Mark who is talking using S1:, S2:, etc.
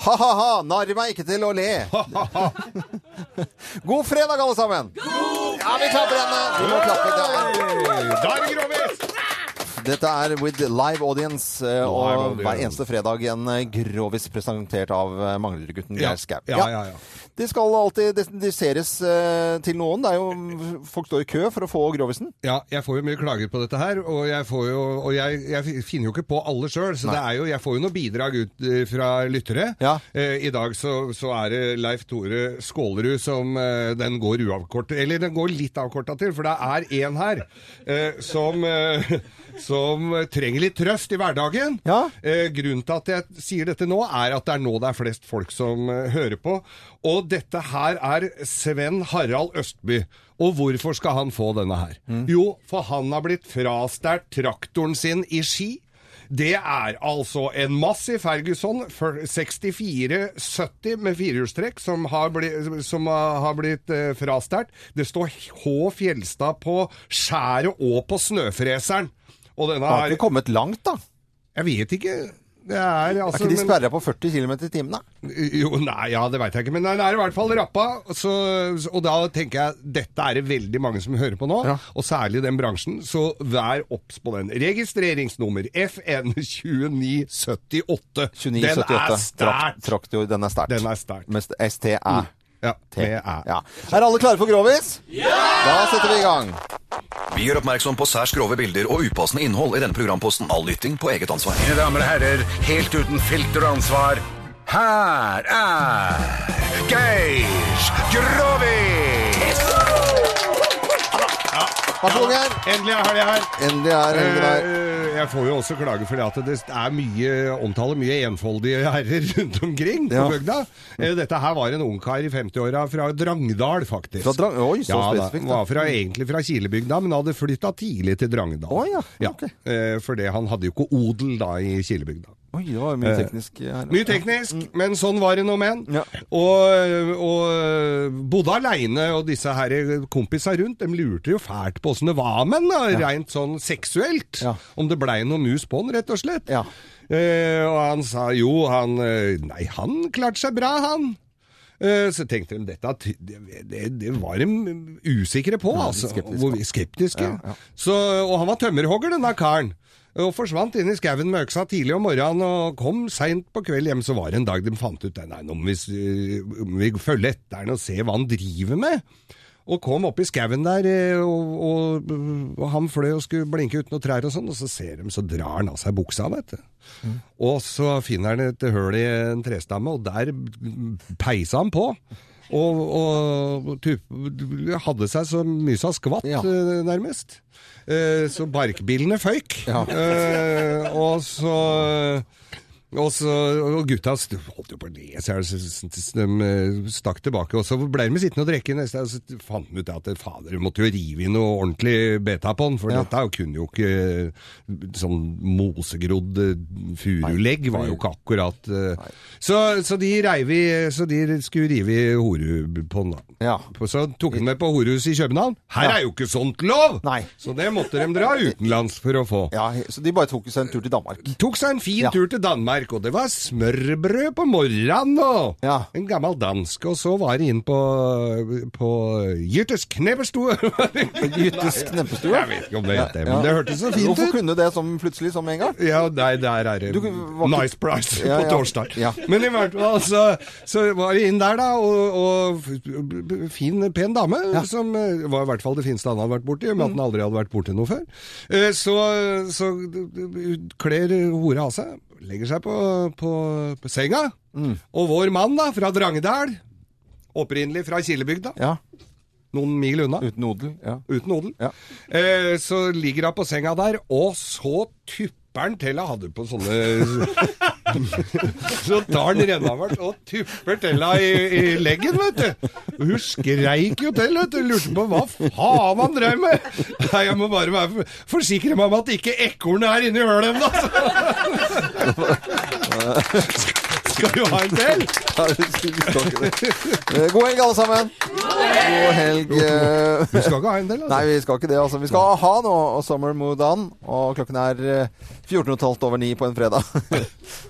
S1: Ha-ha-ha, narr meg ikke til å le. God fredag, alle sammen. Ja, vi klapper henne. Vi må klappe. Det er.
S2: Da er det grovis!
S1: Dette er With Live Audience, eh,
S2: Live
S1: og
S2: audience.
S1: hver eneste fredag en eh, grovis presentert av eh, Manglerudgutten
S2: Ja.
S1: Geir Skau.
S2: Ja, ja, ja.
S1: De skal alltid desendiseres eh, til noen. Det er jo, folk står i kø for å få grovisen.
S2: Ja, jeg får jo mye klager på dette her, og jeg, får jo, og jeg, jeg finner jo ikke på alle sjøl. Så det er jo, jeg får jo noen bidrag ut eh, fra lyttere.
S1: Ja.
S2: Eh, I dag så, så er det Leif Tore Skålerud som eh, den går uavkortet Eller den går litt avkorta til, for det er én her eh, som, eh, som trenger litt trøst i hverdagen.
S1: Ja.
S2: Eh, grunnen til at jeg sier dette nå, er at det er nå det er flest folk som eh, hører på. Og dette her er Sven Harald Østby. Og hvorfor skal han få denne her? Jo, for han har blitt frastjålet traktoren sin i Ski. Det er altså en massiv Ferguson for- 6470 med firehjulstrekk som har blitt, som har blitt eh, frastjålet. Det står H. Fjelstad på skjæret og på snøfreseren. Og denne
S1: Da har
S2: her
S1: vi kommet langt, da.
S2: jeg vet ikke. Det er
S1: Er
S2: altså
S1: ikke de
S2: men- Eh,
S1: sperra på 40 km i timen, da?
S2: Jo, nei, ja, det veit jeg ikke. Men den er i hvert fall rappa. Så, så- og da tenker jeg dette er det veldig mange som hører på nå,
S1: Ja.
S2: og særlig i den bransjen. Så vær obs på den. Registreringsnummer FN2978.
S1: 29,
S2: den er
S1: 78. Trakt-
S2: sterkt!
S1: Traktor, den er sterkt.
S2: Den er Mm. sterkt.
S1: Med STE.
S2: Ja,
S1: T.
S2: med æ.
S1: Ja. Er alle klare for grovis? Ja! Da setter vi i gang.
S3: Vi gjør oppmerksom på særs grove bilder og upassende innhold i denne programposten. All lytting på eget ansvar.
S4: Mine damer og herrer, helt uten filter og ansvar, her er Geir Grovis!
S1: Vær så god, Geir.
S2: Endelig er helga her!
S1: Endelig er helgen her.
S2: Eh, Jeg får jo også klage fordi at det er mye omtaler mye enfoldige herrer rundt omkring på
S1: Ja.
S2: bygda. Eh, Dette her var en ungkar i 50-åra fra Drangdal, faktisk.
S1: Fra Drang- oi, så
S2: ja, da.
S1: spesifikt, da.
S2: Var fra, egentlig fra Kilebygda, men hadde flytta tidlig til Drangdal.
S1: Å, ja. Ok.
S2: eh, Fordi han hadde jo ikke odel da i Kilebygda.
S1: Eh, Oi, det var mye teknisk her.
S2: Mye teknisk, men sånn var det nå men.
S1: Mm. Ja.
S2: Og, og bodde aleine, og disse her kompisa rundt, de lurte jo fælt på åssen det var med den, da, rent sånn seksuelt.
S1: Ja.
S2: Om det blei noe mus på den, rett og slett.
S1: Ja.
S2: Eh, og han sa jo, han eh, Nei, han klarte seg bra, han. Eh, Så tenkte de dette at det, det, det var de usikre på, altså.
S1: skeptiske.
S2: Hvor vi skeptiske. Så, og han var tømmerhogger, denne karen. Og forsvant inn i skauen med øksa tidlig om morgenen og kom seint på kveld hjem. Så var det en dag de fant ut nei, nå må vi, s- eh, må vi følge etter han og se hva han driver med. Og kom opp i skauen der, eh, og, og, og han fløy og skulle blinke ut noen trær og sånn, og så ser de, så drar han av seg buksa, vet du. Og så finner han et høl i en trestamme, og der peisa han på. Og, og typ, hadde seg så mye som skvatt,
S1: Ja.
S2: eh, nærmest. Eh, så barkbilene føyk. Eh, og så og, så, og gutta st- holdt jo på å le, så jeg- så- så de eh, stakk tilbake. Og så ble de sittende og drikke. neste dag, Så fant de ut at eh, fader, de måtte jo rive inn noe ordentlig beta på den, for
S1: Ja.
S2: dette kunne jo ikke eh, Sånn mosegrodd eh, furulegg var jo ikke akkurat eh, så, så, de reiv i, så de skulle rive i horu på den, da.
S1: Ja.
S2: Så tok de med på horehuset i København. Her er jo ikke sånt lov!
S1: Nei.
S2: Så det måtte de dra utenlands for å få.
S1: ja, så de bare tok seg en tur til Danmark.
S2: Tok seg en fin
S1: Ja.
S2: tur til Danmark, og det var smørbrød på morgenen og
S1: Ja.
S2: en gammel dansk, og så var det inn på, på Jyttes Knebberstue.
S1: Jyttes knempestue.
S2: Jeg vet ikke om det het det,
S1: Ja.
S2: men det hørtes så fint
S1: Hvorfor
S2: ut.
S1: kunne det som plutselig som en gang?
S2: Ja, nei, der er det
S1: Du var ikke-
S2: nice price
S1: Ja, ja.
S2: på torsdag.
S1: Ja.
S2: Men i hvert fall så, så var det inn der, da, og, og fin, pen dame, som eh, var i hvert fall det fineste han hadde vært borti, med at
S1: Mm.
S2: han aldri hadde vært borti noe før. Eh, Så, så kler hora av seg, legger seg på, på, på senga,
S1: Mm.
S2: og vår mann da, fra Drangedal, opprinnelig fra Kilebygda,
S1: Ja,
S2: noen mil unna,
S1: uten odel. Ja.
S2: uten odel.
S1: Ja.
S2: Eh, så ligger hun på senga der, og så tupper han til hun hadde på sånne Så tar han rennavert og tupper til henne i, i leggen, vet du. Og hun skreik jo til, vet du. Lurte på hva faen han drev med. Nei, jeg må bare være for- forsikre meg om at ikke ekornet er inni hølet ennå, altså. Skal du ha en til?
S1: Ja, det skulle vi snakke om. Eh, God helg, alle sammen. God helg. eh,
S2: Du skal ikke ha en til, altså.
S1: Nei, vi skal ikke det. altså. Vi skal ha nå og Summer Mood On. Og klokken er eh, 14.30 over 9 på en fredag.